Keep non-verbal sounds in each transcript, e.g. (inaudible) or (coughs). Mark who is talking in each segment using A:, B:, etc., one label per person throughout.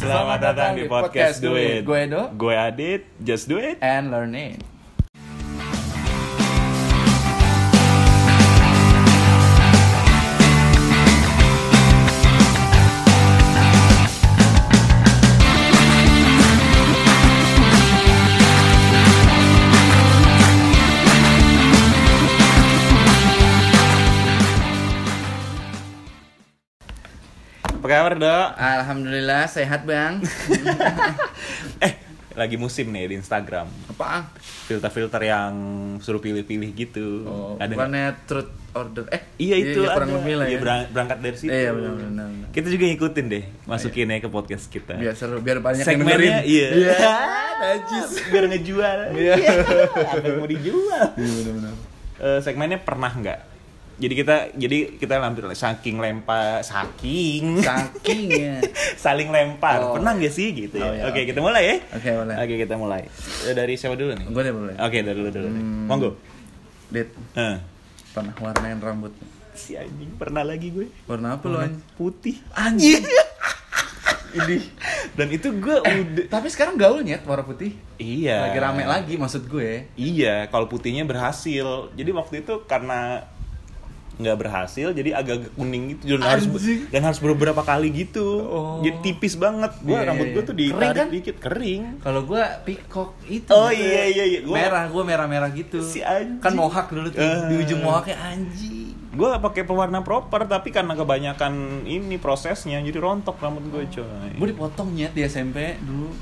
A: Selamat datang di podcast Do It.
B: Gue Edo Eh,
A: Gue Adit, just do it.
B: and Learning.
A: Apa kabar, Dok?
B: Alhamdulillah sehat
A: (laughs)
B: bang.
A: Eh, lagi musim nih di Instagram.
B: Apaan?
A: Filter-filter yang suruh pilih-pilih gitu.
B: Oh,
A: Ada nggak?
B: bukannya truth order? Eh
A: Iya itu
B: kurang
A: ada.
B: lebih lah
A: Iya,
B: ya.
A: berang- berangkat dari situ.
B: Iya, benar, Iya. benar, benar.
A: Kita juga ngikutin deh, masukin ya ke podcast kita.
B: Biar seru, biar banyak yang dengerin.
A: Segmennya iya.
B: (laughs) Iya.
A: (laughs) najis. Biar ngejual.
B: Iya.
A: Apa yang mau dijual?
B: benar-benar.
A: Eh, segmennya pernah nggak? Jadi kita jadi kita lampir saking lempar saking
B: Saking ya.
A: (laughs) saling lempar
B: Oh.
A: pernah nggak sih gitu ya
B: Oh, iya,
A: oke
B: oke.
A: kita mulai ya
B: Oke, boleh.
A: oke kita mulai Eh, dari siapa dulu nih
B: Gue deh boleh.
A: oke dari dulu dulu deh.
B: Hmm.
A: monggo
B: Dit
A: Eh.
B: pernah warnain rambut.
A: si anjing pernah lagi gue
B: Warna apa lu anj?
A: putih
B: Anjing.
A: (laughs) ini dan itu gue udah
B: Tapi sekarang gaulnya warna putih.
A: iya
B: Lagi rame lagi maksud gue.
A: iya kalau putihnya berhasil jadi waktu itu karena nggak berhasil jadi agak kuning gitu dan harus
B: Anjing.
A: dan harus beberapa kali gitu
B: Oh.
A: jadi tipis banget gue
B: Iya, iya,
A: rambut gue
B: iya.
A: tuh
B: Kering
A: ditarik
B: kan?
A: dikit kering
B: Kalau gua peacock itu.
A: Oh,
B: gitu.
A: iya, iya, iya. Gua-
B: Merah, gua merah-merah gitu.
A: Si anjing.
B: Kan mohak dulu tuh.
A: Eh.
B: Di ujung mohaknya anjing.
A: gue pakai pewarna proper tapi karena kebanyakan ini prosesnya jadi rontok rambut gue coy
B: Gua dipotong nyet di SMP dulu.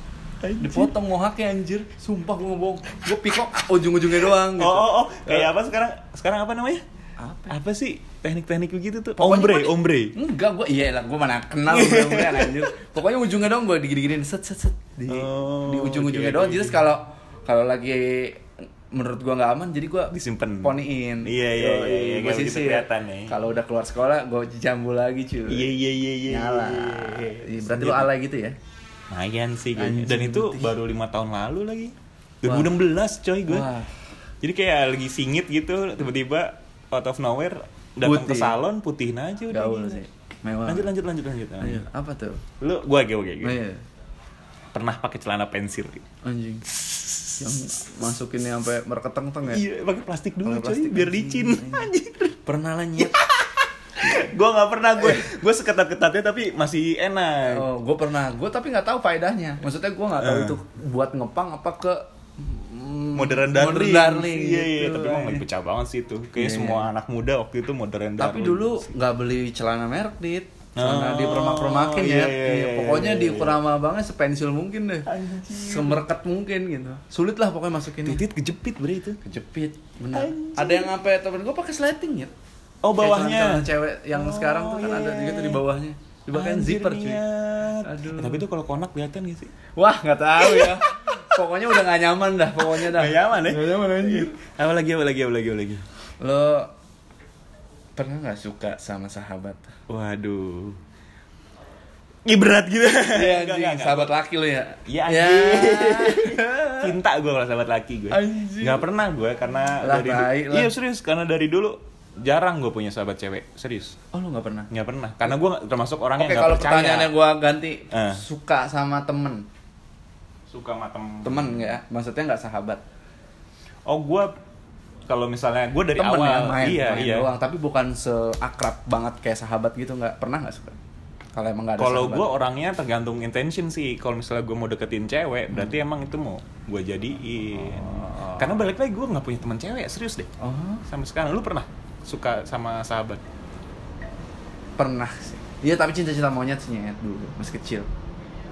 A: Anjing.
B: Dipotong gitu. mohaknya anjir. Sumpah gua ngomong. Gua peacock ujung-ujungnya doang
A: oh,
B: gitu.
A: oh, oh. kayak apa sekarang sekarang apa namanya
B: Apa?
A: apa sih teknik-teknik begitu tuh
B: Pokoknya
A: ombre
B: gua-
A: ombre
B: Enggak, gua iya lah, gua mana
A: (laughs)
B: kenal bener-bener anjir. Pokoknya ujungnya doang gua digini-giniin set set set di,
A: Oh,
B: di ujung-ujungnya
A: oke,
B: doang.
A: oke,
B: Jadi
A: oke.
B: kalau kalau lagi menurut gua nggak aman jadi gua
A: Disimpen.
B: poniin
A: Iya, iya, iya, iya,
B: gua
A: kayak begitu
B: sisir.
A: kelihatan ya.
B: kalau udah keluar sekolah gua jambu lagi cuy
A: iya iya iya iya
B: Hmm. nyala
A: iya, iya.
B: Iya, berarti lu ala gitu ya
A: lumayan sih kayaknya dan
B: Anjing,
A: itu
B: putih.
A: baru lima tahun lalu lagi
B: Wah.
A: 2016 coy gue
B: Wah.
A: jadi kayak lagi singit gitu tiba-tiba out of nowhere datang ke
B: Putih.
A: salon putihin aja Iya, udah
B: gaul
A: gila.
B: sih Iya. mewah
A: lanjut Iya. lanjut lanjut lanjut
B: Ayo, apa tuh Oh,
A: lu gue oke oke oke.
B: Ayo,
A: pernah pakai celana pensil
B: Iya. anjing yang masukinnya sampai merketeng-teng ya
A: Iya, pakai plastik dulu
B: Pakai
A: coy,
B: plastik,
A: biar
B: anjing,
A: licin. Anjir.
B: pernah lah nyet
A: gua nggak pernah gue gue seketat-ketatnya tapi masih enak.
B: Eh. Oh, gue pernah. Gue tapi nggak tahu faedahnya. Maksudnya gue nggak tahu
A: Eh.
B: itu buat ngepang apa ke mm,
A: Modern darling.
B: modern darling
A: Iya, iya,
B: gitu.
A: tapi emang lagi pecah banget sih itu. Kayak
B: Iya,
A: semua anak muda waktu itu modern darling.
B: Tapi dulu nggak beli celana merek dit. Celana
A: Oh,
B: di permak-permakin
A: iya,
B: ya.
A: iya, iya,
B: pokoknya
A: iya, iya.
B: diukur sama abangnya sepensil mungkin deh. Semerket mungkin gitu. Sulit lah pokoknya masukinnya.
A: titit kejepit bre itu.
B: Kejepit, benar. Ada yang sampai temen gue pakai sleting ya.
A: Oh,
B: Kayak
A: bawahnya.
B: celana-celana cewek yang
A: Oh,
B: sekarang tuh kan
A: iya,
B: ada
A: iya,
B: juga tuh di
A: iya.
B: bawahnya. Dipakein
A: Anjir,
B: zipper cuy.
A: niat. Eh,
B: Aduh.
A: Tapi itu kalau konak kelihatan gak sih?
B: Wah, nggak tahu ya. pokoknya udah nggak nyaman dah, pokoknya dah.
A: Nggak nyaman, ya?
B: Nggak nyaman anjir.
A: Apa lagi apa lagi apa lagi apa lagi?
B: Lo pernah nggak suka sama sahabat?
A: Waduh. Ih berat gitu. (laughs)
B: Iya
A: Nggak,
B: anjing,
A: nggak, nggak.
B: sahabat laki lo ya?
A: Iya
B: Ya.
A: anjing. Cinta gue kalau sahabat laki gue.
B: Anjing.
A: Gak pernah gue karena
B: Lah,
A: dari
B: tai
A: dulu.
B: lah.
A: Iya serius karena dari dulu jarang gue punya sahabat cewek serius.
B: Oh lo nggak pernah?
A: Nggak pernah karena gue nggak- termasuk orang
B: Oke,
A: yang nggak
B: kalau
A: percaya.
B: pertanyaannya gua ganti
A: Eh.
B: suka sama temen,
A: Suka sama temen.
B: temen nggak ya? Maksudnya nggak sahabat?
A: Oh gue kalau misalnya gue dari
B: temen
A: awal
B: ya main,
A: iya
B: main
A: iya.
B: doang, tapi bukan seakrab banget kayak sahabat gitu nggak pernah nggak suka? Kalau emang nggak ada
A: Kalau
B: sahabat.
A: gue orangnya tergantung intention sih. Kalau misalnya gue mau deketin
B: Hmm.
A: cewek, berarti emang itu mau gue jadiin. Karena balik lagi gue nggak punya teman cewek serius deh.
B: Oh.
A: Sampai sekarang lu pernah suka sama sahabat?
B: pernah sih iya tapi cinta-cinta monyet sih nyet dulu masih kecil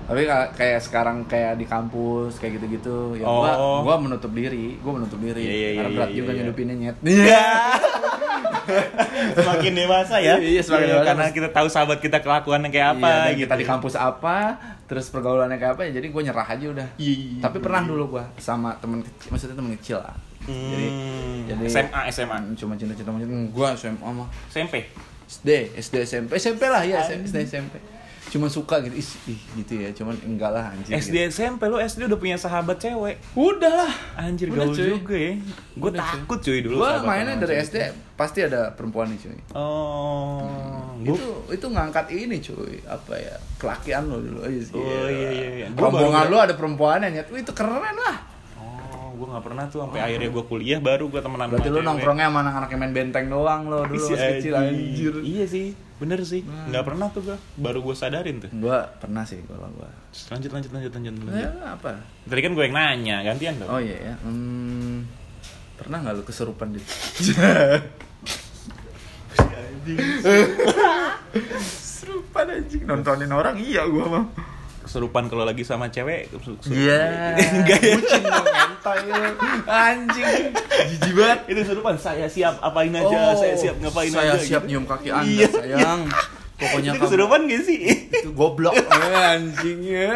B: tapi ka- kayak sekarang kayak di kampus kayak gitu-gitu ya gua
A: Oh.
B: gua menutup diri gua menutup diri
A: Iya, iya,
B: karena
A: iya,
B: berat
A: iya,
B: juga
A: (laughs) iya.
B: nyedupinnya nyet
A: semakin dewasa ya.
B: Ya. Iya, iya, semakin dewasa.
A: Karena kita tahu sahabat kita kelakuannya kayak apa
B: Iya, dan
A: gitu.
B: kita di kampus apa terus pergaulannya kayak apa ya jadi gua nyerah aja udah
A: Iya, iya,
B: tapi pernah dulu gua sama temen kecil maksudnya temen kecil lah
A: Hmm,
B: jadi jadi
A: SMA SMA
B: Hmm, cuma cinta-cinta monyet Hmm, gua SMA mah
A: SMP.
B: SD, SD SMP, SMP lah ya, SD SMP. Cuma suka gitu, is, ih, gitu ya, cuman enggak lah anjir.
A: SD SMP lu SD udah punya sahabat cewek.
B: Udah lah.
A: Anjir
B: Udah,
A: gaul
B: cuy.
A: juga ya. Gue
B: Udah, cuy.
A: takut cuy dulu.
B: Gue
A: sahabat
B: mainnya
A: sama
B: dari
A: cewek.
B: SD pasti ada perempuan nih cuy.
A: Oh. sanggup.
B: itu itu ngangkat ini cuy apa ya kelakian lo dulu aja sih
A: Oh, iya, iya, iya. Gua
B: rombongan
A: baru-
B: lo ada perempuannya nyet Wih, itu keren lah
A: Oh, gue nggak pernah tuh sampai akhirnya gue kuliah baru gue temenan
B: berarti
A: sama
B: lo
A: cewek.
B: nongkrongnya sama anak-anak yang main benteng doang lo dulu
A: Isi
B: masih kecil
A: aja.
B: anjir Hmm.
A: Iya sih, bener sih. Nggak pernah tuh gue. Baru gue sadarin tuh.
B: gua pernah sih kalau gua
A: Terus Lanjut, lanjut, lanjut, lanjut. lanjut.
B: ya apa
A: Tadi kan gue yang nanya, gantian dong.
B: oh iya ya hmm, pernah nggak lo kesurupan di serupan anjing nontonin orang iya gua mah
A: Kesurupan kalau lagi sama cewek. kesu- kesurupan.
B: iya
A: (laughs) Enggak ya.
B: bucin lo ngantai lo anjing jijik banget
A: Itu kesurupan. Saya siap apain aja, saya siap ngapain
B: Oh, saya
A: aja.
B: siap
A: gitu.
B: nyium kaki anda
A: Iya.
B: sayang pokoknya
A: Itu
B: kamu
A: kesurupan gak sih?
B: itu
A: (laughs)
B: goblok Eh, anjingnya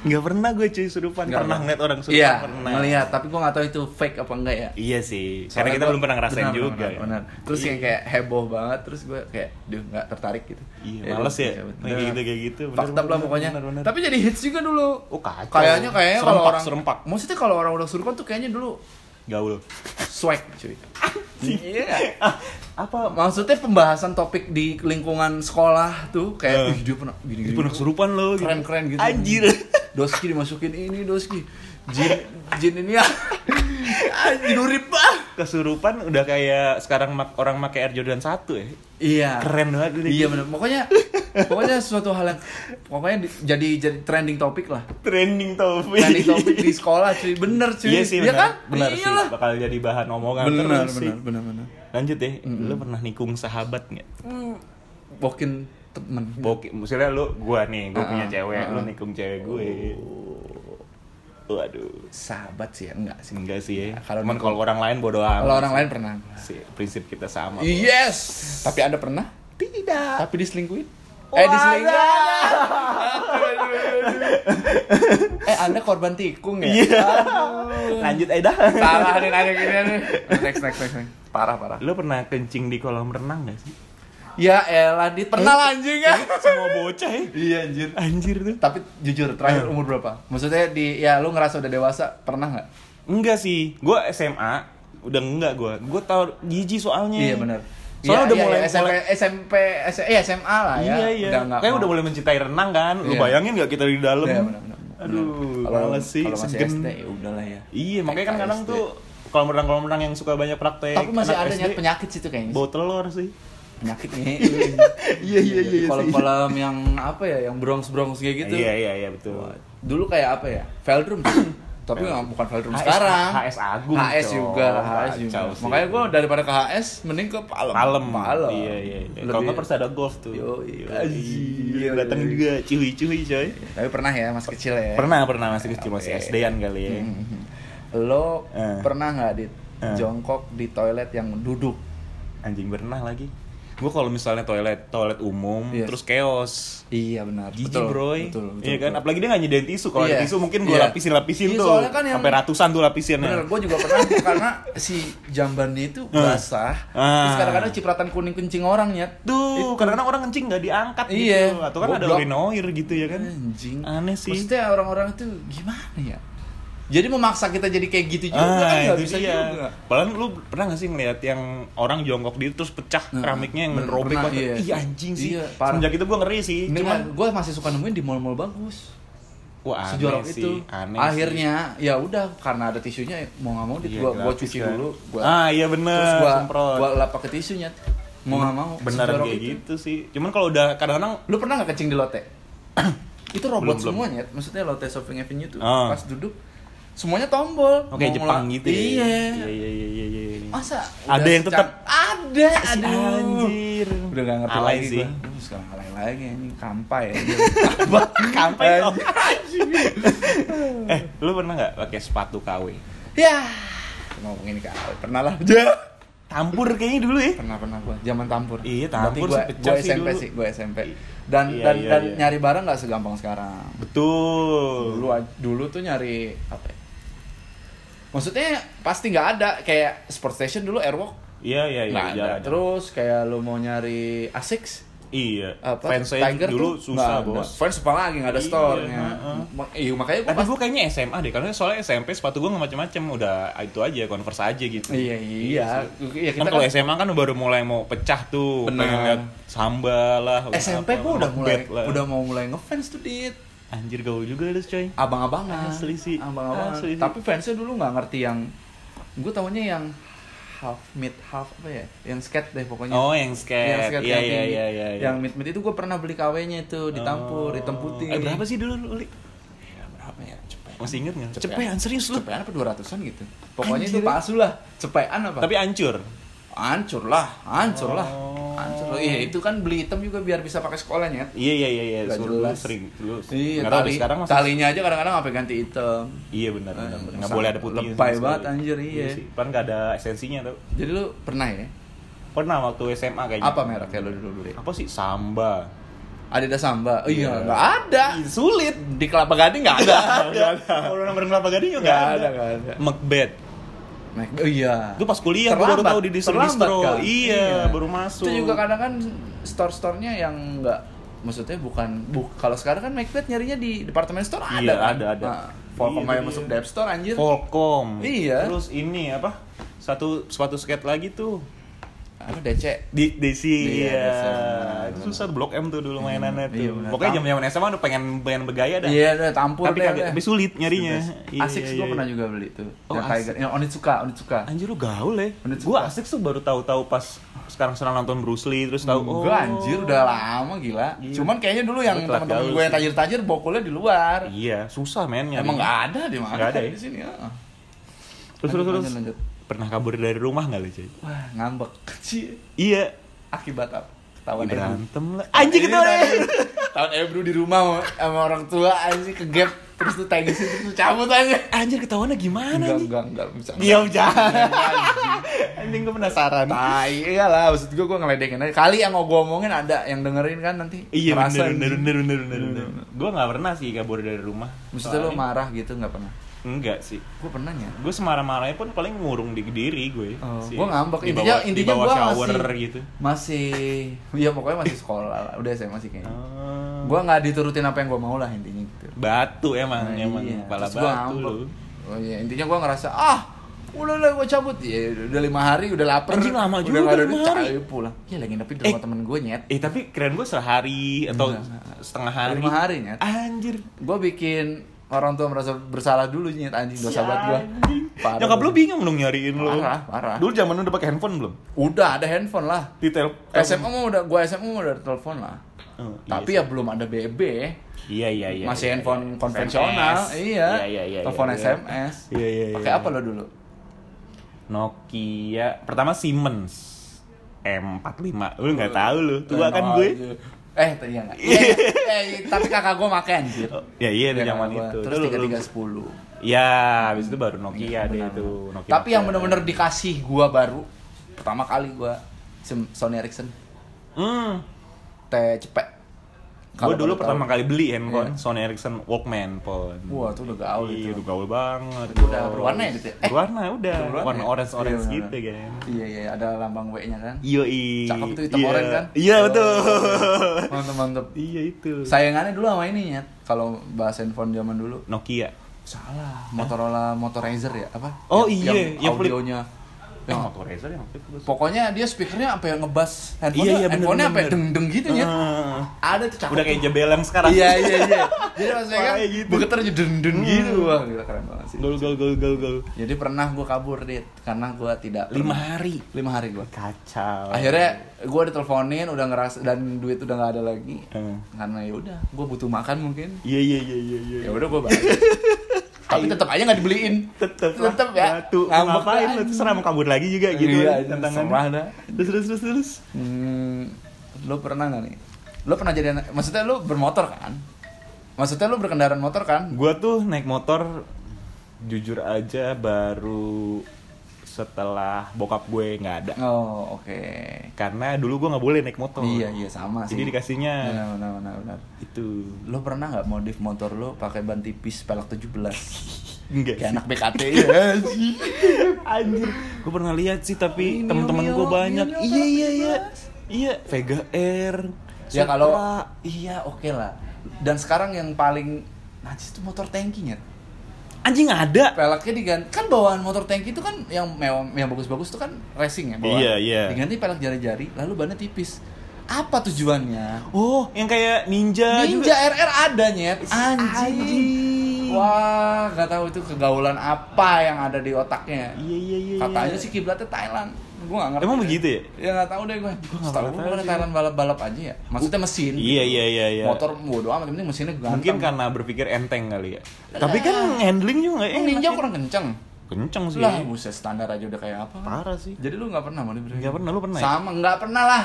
A: Nggak pernah gue cuy surupan.
B: Nggak
A: pernah
B: pernah.
A: ngeliat orang surupan.
B: iya
A: pernah.
B: ngeliat tapi gua nggak tahu itu fake apa enggak ya
A: Iya sih.
B: Soalnya
A: Karena kita
B: gua-
A: belum pernah ngerasain
B: benar,
A: juga.
B: benar,
A: ya.
B: benar. terus
A: Iya.
B: yang kayak heboh banget terus gue kayak duh nggak tertarik gitu
A: Iya, males ya. Kayak gitu, kayak gitu. Benar,
B: fakta lah
A: benar,
B: pokoknya
A: benar, benar.
B: tapi jadi hits juga dulu
A: Oh, kacau.
B: kayaknya kayaknya kalau
A: Serempak,
B: orang
A: serempak.
B: maksudnya kalau orang udah suruh kan tuh kayaknya dulu
A: Gaul.
B: swag cuy iya
A: (laughs) Ah, apa?
B: maksudnya pembahasan topik di lingkungan sekolah tuh kayak
A: Eh.
B: "Ih, dia pernah gini
A: Itu
B: gini
A: pernah kesurupan lo. gitu.
B: keren keren gitu
A: Anjir. (laughs)
B: doski dimasukin ini doski jin jin ini (laughs) ya anjir durip ah
A: Kesurupan udah kayak sekarang mak- orang pakai Air Jordan 1 ya.
B: Iya.
A: Keren banget ini.
B: Iya benar. Pokoknya pokoknya suatu hal yang pokoknya di- jadi jadi trending topik
A: (laughs)
B: lah.
A: Trending topik.
B: Trending topik di sekolah cuy. Bener cuy.
A: Iya sih, benar.
B: Iya kan?
A: Benar sih,
B: Iyalah.
A: bakal jadi bahan omongan
B: Bener bener
A: terus sih.
B: bener bener. bener.
A: Lanjut deh, lo pernah nikung sahabat nggak?
B: Bokin temen.
A: Boki, misalnya lo, gua nih, gua
B: Ah,
A: punya
B: ah,
A: cewek,
B: ah,
A: lo
B: ah.
A: nikung cewek gue. Oh. Waduh,
B: Sahabat sih ya enggak sih.
A: enggak sih ya.
B: kalau
A: Cuman
B: nikung-
A: kalau orang lain bodo amat.
B: Kalau orang lain pernah.
A: sih. prinsip kita sama.
B: Yes. Tapi Anda pernah?
A: Tidak.
B: Tapi diselingkuin?
A: Wah,
B: eh
A: (laughs)
B: diselingkuin. eh Anda korban tikung ya?
A: Iya.
B: Aduh.
A: Lanjut Aida.
B: Parah nih nanya gini nih. Next next next. next. Parah parah.
A: Lo pernah kencing di kolam renang gak sih?
B: Ya elah, Dit. Pernah lah anjing ya.
A: Semua bocah ya.
B: iya anjir.
A: Anjir tuh.
B: Tapi jujur, terakhir umur berapa? Maksudnya di ya lu ngerasa udah dewasa, pernah nggak?
A: Enggak sih, gua SMA udah enggak gua. Gua tau jijik soalnya.
B: Iya benar.
A: Soalnya
B: Iya,
A: udah
B: iya,
A: mulai
B: iya, SMP,
A: mulai-
B: SMP, S- eh, SMA lah ya.
A: Iya iya.
B: Udah nggak
A: Kayak
B: mau.
A: udah mulai mencintai renang kan. Lu
B: Iya.
A: bayangin nggak kita di dalam?
B: Iya, benar, benar, benar.
A: Aduh,
B: Kalau-
A: males sih,
B: Kalau masih
A: segen.
B: SD ya udahlah ya.
A: Iya, makanya kan
B: Kayak
A: kadang
B: SD.
A: tuh kolam renang kolam renang yang suka banyak praktek.
B: Tapi masih
A: anak
B: ada
A: SD,
B: nyet penyakit situ kayaknya.
A: Bau telur sih.
B: Penyakit
A: (laughs)
B: nih.
A: Iya, iya, iya, iya,
B: Kolam-kolam yang apa ya, yang brongs-brongs kayak gitu.
A: Iya iya iya betul.
B: Dulu kayak apa ya? Veldrum.
A: (coughs)
B: Tapi nggak bukan Veldrum
A: HS
B: sekarang.
A: HS Agung,
B: HS
A: coy.
B: juga, HS juga.
A: Kacau sih.
B: Makanya gue daripada ke HS mending ke Palem.
A: Palem.
B: Palem.
A: Iya iya. iya. Kalau
B: Lebih-
A: nggak persada golf tuh.
B: Yoi.
A: Anjir, datang
B: Yoi.
A: juga cuy-cuy coy.
B: Tapi pernah ya mas kecil ya.
A: Pernah pernah masih kecil masih
B: Oke.
A: SD-an kali ya.
B: Mhm. Lo
A: Eh.
B: pernah nggak di
A: Eh.
B: jongkok di toilet yang duduk?
A: Anjing berenang lagi. Gue kalau misalnya toilet toilet umum
B: Iya.
A: terus keos.
B: Iya benar.
A: Jijik
B: Betul,
A: broy.
B: Betul. betul,
A: iya kan?
B: betul.
A: Apalagi dia nggak nyediain tisu. Kalau ada
B: Iya.
A: tisu mungkin gue
B: Iya.
A: lapisin-lapisin
B: Iya,
A: tuh.
B: soalnya kan yang-
A: Sampai ratusan tuh lapisinnya.
B: Bener, gue juga pernah karena si jambannya itu basah. Terus
A: Eh. Ah.
B: kadang-kadang cipratan kuning kencing orang ya.
A: Tuh, kadang-kadang orang kencing nggak diangkat
B: Iya.
A: gitu. Atau kan ada
B: Goblok.
A: urinoir gitu ya kan?
B: Anjing.
A: Aneh sih.
B: Maksudnya orang-orang itu gimana ya? Jadi memaksa kita jadi kayak gitu juga kan nggak
A: Ah, itu
B: bisa
A: dia.
B: juga.
A: Padahal lu pernah gak sih ngeliat yang orang jongkok di terus pecah keramiknya yang
B: Nah, bener,
A: robek
B: pernah,
A: banget.
B: iya.
A: Iya anjing sih.
B: Iya, parah.
A: Semenjak itu gue ngeri sih.
B: Ini
A: Cuman
B: gue masih suka nemuin di mall-mall bagus.
A: wah aneh
B: Sejauh
A: sih.
B: itu,
A: Aneh
B: akhirnya ya udah karena ada tisunya mau nggak mau
A: sih.
B: dit
A: Iya,
B: gua gua
A: gratis
B: cuci
A: kan.
B: dulu, gua
A: ah iya bener.
B: terus gua
A: semprot.
B: gua lap pakai tisunya. Mau nggak mau.
A: bener
B: sejorok
A: kayak
B: itu.
A: gitu sih. Cuman kalau udah kadang-kadang
B: Lu pernah nggak kencing di
A: (coughs)
B: lote? itu robot
A: Belum,
B: semua nyet. Maksudnya lote shopping avenue tuh
A: Ah.
B: pas duduk semuanya tombol.
A: oke Jepang
B: ngela-
A: gitu ya. Iya
B: Iya.
A: iya iya iya. iya.
B: Masa
A: Ada
B: udah
A: yang tetap.
B: secan- ada
A: Si
B: aduh.
A: Anjir.
B: Udah gak ngerti
A: Alay
B: lagi
A: sih.
B: sih. Gua. Sekarang alay lagi ini kampai ya.
A: (laughs) Kampai
B: dong.
A: dong. Eh, lu pernah nggak pakai sepatu KW?
B: ya. Ngomongin ke awal. Pernah lah. Ya.
A: Tampur kayaknya dulu ya.
B: pernah pernah gua zaman tampur
A: Iya, tampur
B: gua,
A: sepejam
B: gua
A: sih
B: SMP
A: dulu.
B: sih gua SMP dan
A: Iya,
B: dan
A: iya,
B: dan
A: iya.
B: nyari barang nggak segampang sekarang
A: Betul.
B: dulu aj- dulu tuh nyari apa ya? maksudnya pasti nggak ada kayak sport station dulu airwalk
A: Iya iya iya.
B: nggak ada
A: jarang.
B: terus kayak lu mau nyari asics
A: Iya.
B: apa
A: Fans saya
B: Tiger
A: dulu
B: tuh
A: susah
B: nggak ada.
A: bos.
B: fans apa lagi nggak ada
A: Iya,
B: store-nya
A: heeh.
B: Ma- iya makanya gua
A: Tapi gue kayaknya SMA deh, karena soalnya SMP sepatu gue nggak macem-macem, udah itu aja, converse aja gitu.
B: iya iya iya
A: Kan
B: kita
A: kalau
B: kan-
A: SMA kan baru mulai mau pecah tuh,
B: Benar.
A: pengen lihat samba lah.
B: SMP
A: apa,
B: gua udah mulai
A: Macbeth lah.
B: udah mau mulai ngefans tuh dit
A: Anjir gaul juga lu coy.
B: abang-abangan
A: Asli sih.
B: abang-abangan
A: Asli sih.
B: tapi fansnya dulu nggak ngerti yang gue tahunya yang half mid half apa ya yang skate deh pokoknya
A: Oh yang
B: yang
A: skate,
B: skate
A: iya
B: yang
A: iya
B: tinggi.
A: iya iya.
B: yang mid mid itu gue pernah beli KW-nya itu di Tampur hitam putih
A: Eh, berapa sih dulu lu, Uli?
B: Ya, berapa ya cepet
A: Masih inget nggak?
B: Cepean.
A: Cepean serius lu.
B: cepean apa dua ratusan gitu pokoknya
A: Anjir.
B: itu palsu lah cepean apa
A: Tapi hancur.
B: hancur lah hancur lah
A: Oh.
B: hancur lah iya itu kan beli hitam juga biar bisa pakai sekolahnya
A: Iya iya iya iya.
B: Nggak
A: Dulu
B: jelas.
A: sering dulu.
B: Iya,
A: Nggak tahu
B: tali,
A: deh, sekarang masih
B: talinya aja kadang-kadang sampai ganti hitam.
A: Iya benar benar.
B: Eh,
A: benar. Nggak
B: sangat
A: boleh ada putih.
B: lebay banget, anjir, iya.
A: Pan nggak ada esensinya tuh.
B: Jadi lu pernah ya?
A: Pernah waktu SMA kayaknya.
B: Apa mereknya lu dulu dulu?
A: Apa sih samba?
B: Adidas Samba. Oh, iya,
A: Iya.
B: nggak ada.
A: Ih, Sulit.
B: Di Kelapa Gading nggak
A: (laughs)
B: ada. Nggak ada.
A: Kalau nomor kelapa gading juga
B: Nggak
A: nggak
B: ada, nggak ada.
A: Macbeth.
B: Mac- Oh iya.
A: Itu pas kuliah gue baru
B: Terlambat,
A: tahu di distro
B: terlambat,
A: distro.
B: kan?
A: Iya, baru masuk.
B: Itu juga kadang kan store-store-nya yang nggak maksudnya bukan bu, kalau sekarang kan Macbeth nyarinya di departemen store ada
A: Iya,
B: kan?
A: ada, ada.
B: Nah, Volcom
A: Iya,
B: aja
A: iya.
B: masuk dep store anjir
A: Volcom.
B: Iya.
A: Terus ini apa? Satu sepatu skate lagi tuh.
B: apa DC
A: Di Desi.
B: Iya,
A: Iya.
B: Desi.
A: Itu susah Blok M tuh dulu mainannya
B: Hmm,
A: tuh.
B: iya, benar.
A: Pokoknya zaman-zaman SMA udah pengen pengen bergaya dah.
B: Iya, udah tampur
A: Tapi
B: deh,
A: kagak-
B: udah.
A: tapi sulit nyarinya. Iya,
B: Asics
A: iya,
B: gua
A: iya.
B: pernah juga beli tuh.
A: Oh,
B: yang
A: Asics.
B: Tiger, yang Onitsuka, Onitsuka.
A: Anjir lu gaul ya.
B: Bener
A: Gue
B: suka.
A: asik tuh baru tahu-tahu pas sekarang senang nonton Bruce Lee terus tahu oh.
B: Gua anjir udah lama gila.
A: Iya.
B: Cuman kayaknya dulu
A: Gua
B: yang
A: telat
B: teman-teman
A: gaul
B: gue yang
A: sih.
B: tajir-tajir bokulnya di luar.
A: Iya, susah men nyari.
B: Emang nggak ada di mana?
A: Nggak ada ya?
B: di sini. Ya.
A: Terus terus
B: Lanjut,
A: terus.
B: lanjut, lanjut.
A: Pernah kabur dari rumah nggak lu, Coy?
B: Wah, ngambek. (laughs) Cie,
A: Iya.
B: Akibat apa? Ketahuan Ebru.
A: Berantem lah. Anjing gitu.
B: Iya, Tahun Ebru di rumah sama, sama orang tua anjing ke gap terus tuh tagih situ terus cabut aja.
A: Anjir ketahuannya gimana Iya, nih?
B: Enggak, enggak, enggak bisa.
A: Diam jangan. Anjing gue penasaran.
B: Tai iyalah maksud gue gue ngeledekin aja. Kali yang mau gue omongin ada yang dengerin kan nanti.
A: Iya
B: Ngerasa
A: bener bener
B: gitu.
A: bener bener bener. bener. Gue nggak pernah sih kabur dari rumah.
B: Maksudnya lo
A: Soalnya-
B: marah gitu nggak pernah?
A: Enggak sih.
B: Gue pernah ya.
A: Gue semarah-marahnya pun paling ngurung di diri gue.
B: Oh,
A: sih.
B: gue ngambek.
A: Di
B: Intinya
A: bawah- di
B: intinya
A: bawah
B: gue
A: shower
B: masih
A: gitu.
B: masih ya pokoknya masih sekolah lah. Udah SMA sih kayaknya.
A: Ah.
B: Gue nggak diturutin apa yang gue mau lah intinya gitu.
A: batu emang
B: Nah,
A: emang
B: iya.
A: kepala
B: Terus gua
A: batu
B: ngambek.
A: lu.
B: Oh iya, intinya gue ngerasa ah udah lah gue cabut ya udah lima hari udah lapar
A: Anjing, lama juga
B: udah nggak ada
A: lima
B: duit,
A: hari.
B: cabut pulang ya lagi nginep di
A: Eh.
B: rumah temen gue nyet
A: Eh tapi keren gue sehari atau
B: Enggak.
A: setengah hari.
B: lima hari ya. nyet
A: Anjir.
B: gue bikin orang tua merasa bersalah dulu nyet anjing dosa buat gue
A: Anjing. Nyokap lu bingung dong nyariin lu.
B: Parah, parah.
A: Dulu zaman lu udah pakai handphone belum?
B: udah ada handphone lah
A: Detail
B: SMA mah udah gua SMA mah udah ada telepon lah
A: Oh, iya sih.
B: tapi ya belum ada BB
A: Iya iya iya.
B: masih
A: iya,
B: handphone
A: iya.
B: konvensional
A: SMS.
B: iya
A: Iya iya iya.
B: telepon
A: iya.
B: SMS
A: Iya iya. iya.
B: pakai apa lo dulu
A: Nokia. Pertama Siemens. M45. Lu nggak tahu lu. Tua kan gue.
B: Iya, eh tadi ya nggak? Iya, iya. eh tapi kakak gua makan anjir
A: Oh, Ya iya di
B: Kakak
A: zaman
B: gua.
A: itu.
B: terus
A: Lu-
B: tiga
A: lu-
B: tiga sepuluh Iya,
A: Ya, habis itu baru Nokia deh itu. Nokia.
B: tapi yang bener-bener dikasih gua baru pertama kali gua Sim- Sony Ericsson
A: Hmm.
B: T cepet
A: Gue
B: Kalau
A: dulu
B: pada tahu.
A: pertama kali beli handphone
B: Iya.
A: Sony Ericsson Walkman phone.
B: Wah, itu udah gaul
A: Iya,
B: itu.
A: udah gaul banget.
B: Itu udah
A: bos.
B: berwarna ya, Dit, ya? Eh,
A: berwarna udah.
B: berwarna
A: Warna
B: ya?
A: orange orange
B: Iya,
A: gitu kan.
B: Iya iya ada lambang W-nya kan.
A: Iya, iya.
B: Cakep tuh hitam
A: Iya.
B: oren kan?
A: Iya, betul. (laughs)
B: Mantep mantep.
A: Iya itu.
B: Sayangannya dulu sama ini ya. Kalau bahas handphone zaman dulu
A: Nokia.
B: salah. Motorola Motorizer ya apa?
A: Oh,
B: Yang-
A: iya,
B: Yang
A: yang flip.
B: audionya.
A: Eh,
B: Yang-
A: Motorola yang waktu itu gua suka.
B: pokoknya dia speakernya sampai ngebas handphone
A: Iya, iya, bener,
B: handphone sampai
A: bener.
B: deng deng gitu ya.
A: Ah.
B: Ada tuh cakep.
A: Udah kayak
B: tuh.
A: jabelang sekarang.
B: Iya iya iya. Jadi maksudnya kan
A: Parahnya gitu.
B: begeternya deng deng gitu. Wah, gila keren banget sih.
A: Gol gol gol gol gol.
B: Jadi pernah gua kabur, Dit, karena gua tidak
A: Lima hari.
B: lima hari gua.
A: Kacau.
B: akhirnya gue diteleponin udah ngerasa dan duit udah nggak ada lagi
A: Eh.
B: karena ya udah gue butuh makan mungkin
A: Iya iya iya iya iya.
B: ya udah gue
A: (laughs)
B: balik tapi tetap aja nggak dibeliin
A: tetep
B: tetep ya
A: tuh
B: Ngambek
A: ngapain
B: aja.
A: lu terserah mau kabur lagi juga gitu
B: Iya,
A: tantangan
B: serah dah.
A: terus terus terus terus
B: hmm, lo pernah nggak nih lo pernah jadi anak maksudnya lo bermotor kan maksudnya lo berkendaraan motor kan
A: gua tuh naik motor jujur aja baru setelah bokap gue nggak ada
B: oh oke
A: karena dulu gue nggak boleh naik motor
B: iya iya sama sih
A: Oh. Jadi dikasihnya.
B: benar benar benar, benar.
A: itu
B: lo pernah nggak modif motor lo pakai ban tipis pelek
A: (laughs)
B: 17
A: enggak
B: kayak
A: sih.
B: anak BKT ya
A: (laughs)
B: sih
A: anjir gue pernah lihat sih tapi
B: Ini
A: teman-teman
B: Mio,
A: gue
B: Mio,
A: banyak
B: Mio
A: iya
B: berapa
A: iya
B: sih,
A: iya iya Vega Air Supra.
B: ya kalau iya oke lah dan sekarang yang paling najis itu motor tangkinya
A: Anjing ada.
B: peleknya diganti kan bawaan motor tangki itu kan yang mewah yang bagus-bagus itu kan racing ya bawaan
A: Iya, iya.
B: diganti pelek jari-jari lalu bannya tipis apa tujuannya
A: Oh, yang kayak ninja,
B: Ninja
A: juga.
B: RR ada nyet anjing.
A: Anjing. Iya,
B: wah nggak tahu itu kegaulan apa yang ada di otaknya
A: Iya, iya, iya. iya.
B: katanya sih kiblatnya Thailand gue gak ngerti
A: Emang
B: deh.
A: begitu ya?
B: ya nggak tahu deh gue
A: Gua nggak
B: setahu
A: pernah
B: gue
A: tahu sih.
B: Thailand balap-balap aja ya maksudnya mesin
A: Iya, iya, iya, iya.
B: motor bodo amat yang penting mesinnya ganteng
A: Mungkin karena berpikir enteng kali ya. Tapi kan handling juga
B: Emang
A: enak.
B: ninja
A: ya.
B: kurang kenceng
A: kenceng sih.
B: lah
A: ya.
B: buset standar aja udah kayak apa
A: Parah sih.
B: jadi lu nggak pernah mau diberi
A: Nggak pernah, lu pernah ya?
B: sama nggak pernah lah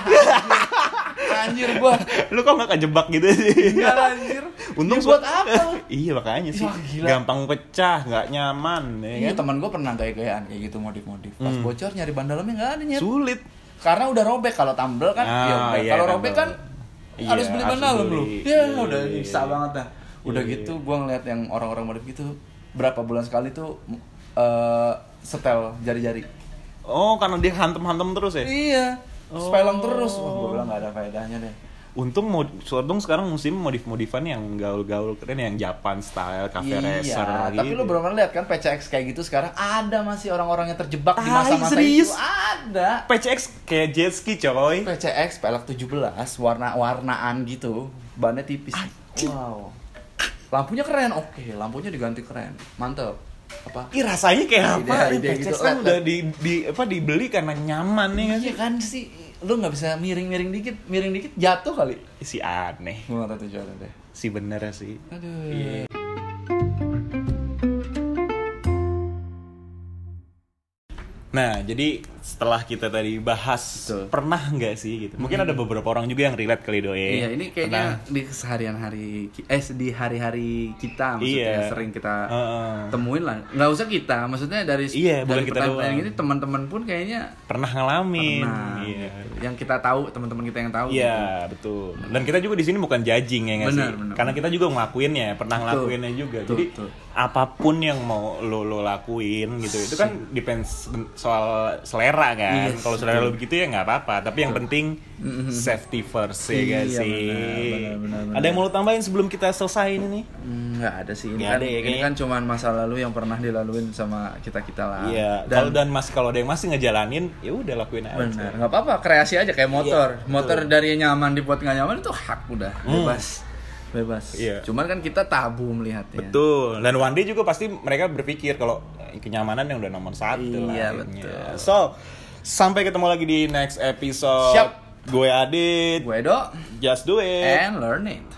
B: anjir, anjir gua
A: (laughs) Lu kok nggak kejebak gitu sih?
B: Enggak lah, anjir
A: (laughs) Untung
B: Ya, buat
A: su- (laughs)
B: apa
A: iya makanya sih.
B: Wah, gila.
A: Gampang pecah, nggak nyaman ya
B: Iya
A: kan?
B: teman gue pernah gaya-gayaan kayak gitu modif-modif. Pas
A: Hmm.
B: bocor nyari ban dalamnya nggak ada nyet.
A: Sulit.
B: Karena udah robek kalau tumble kan.
A: Ah,
B: ya udah.
A: iya,
B: kalau
A: tumble.
B: robek kan
A: Iya,
B: harus beli ban
A: harus
B: dalam
A: beli.
B: lu.
A: Iya,
B: Ya udah
A: iya,
B: bisa
A: iya.
B: banget dah. Udah
A: Iya,
B: gitu gue ngeliat yang orang-orang modif gitu berapa bulan sekali tuh eh, setel jari-jari.
A: Oh, karena dia hantem-hantem terus ya.
B: Iya.
A: Oh.
B: Spelong terus. Wah gue bilang nggak ada faedahnya deh.
A: Untung mod, untung sekarang musim modif-modifan yang gaul-gaul keren yang Japan style, cafe racer
B: Iya, tapi
A: gitu.
B: lu belum lihat kan PCX kayak gitu sekarang ada masih orang-orang yang terjebak di
A: Tai,
B: masa-masa
A: serius?
B: itu ada.
A: PCX kayak jet ski coy.
B: PCX pelek 17 warna-warnaan gitu bannya tipis wow lampunya keren oke lampunya diganti keren mantep apa
A: Ih rasanya kayak
B: Ide-
A: apa?
B: ide
A: PCX
B: gitu,
A: kan
B: let-
A: udah
B: let.
A: di, di apa dibeli karena nyaman nih kan?
B: iya kan sih lu nggak bisa miring-miring dikit miring dikit jatuh kali
A: Si aneh,
B: gua nggak tahu tujuannya deh
A: si bener sih.
B: aduh Iya.
A: Nah, jadi setelah kita tadi bahas
B: Betul.
A: pernah nggak sih gitu. Mungkin ada beberapa orang juga yang relate ya. kali doe.
B: Iya, ini kayaknya di keseharian hari ki- eh di hari-hari kita maksudnya
A: Iya.
B: sering kita
A: Heeh.
B: temuin lah. Nggak usah kita, maksudnya dari
A: Iya, bukan
B: dari
A: kita
B: pertanyaan
A: doang.
B: ini teman-teman pun kayaknya
A: pernah ngalamin.
B: pernah
A: Iya.
B: gitu. yang kita tahu teman-teman kita yang tahu gitu.
A: Iya, betul. Dan kita juga di sini bukan judging ya nggak
B: Benar,
A: sih?
B: benar,
A: Karena kita juga ngelakuinnya, pernah
B: Betul.
A: ngelakuinnya juga.
B: Betul,
A: Jadi
B: betul.
A: apapun yang mau lo lo lakuin gitu, itu kan
B: Iya.
A: depends soal selera kan.
B: Yes,
A: Kalau selera lo begitu ya nggak apa-apa. Tapi yang penting safety first ya nggak
B: Iya,
A: sih.
B: benar, benar, benar,
A: Ada yang mau lo tambahin sebelum kita selesai ini nih?
B: gitu. Hmm, nggak ada sih ini
A: Nggak
B: kan
A: ada ya,
B: ini
A: kayaknya.
B: kan cuman masa lalu yang pernah dilaluin sama kita kita lah
A: Iya. Kalau dan masih kalau ada yang masih ngejalanin, ya udah lakuin aja. Iya,
B: benar nggak apa-apa kreasi aja kayak motor motor dari yang nyaman dibuat nggak nyaman itu hak udah bebas bebas
A: Hmm. Iya.
B: cuman kan kita tabu melihatnya
A: Betul. Dan one day juga pasti mereka berpikir kalau eh, kenyamanan yang udah nomor satu lah.
B: Iya, betul.
A: So, sampai ketemu lagi di next episode.
B: Siap.
A: Gue Adit.
B: gue do
A: Just do it.
B: and learn it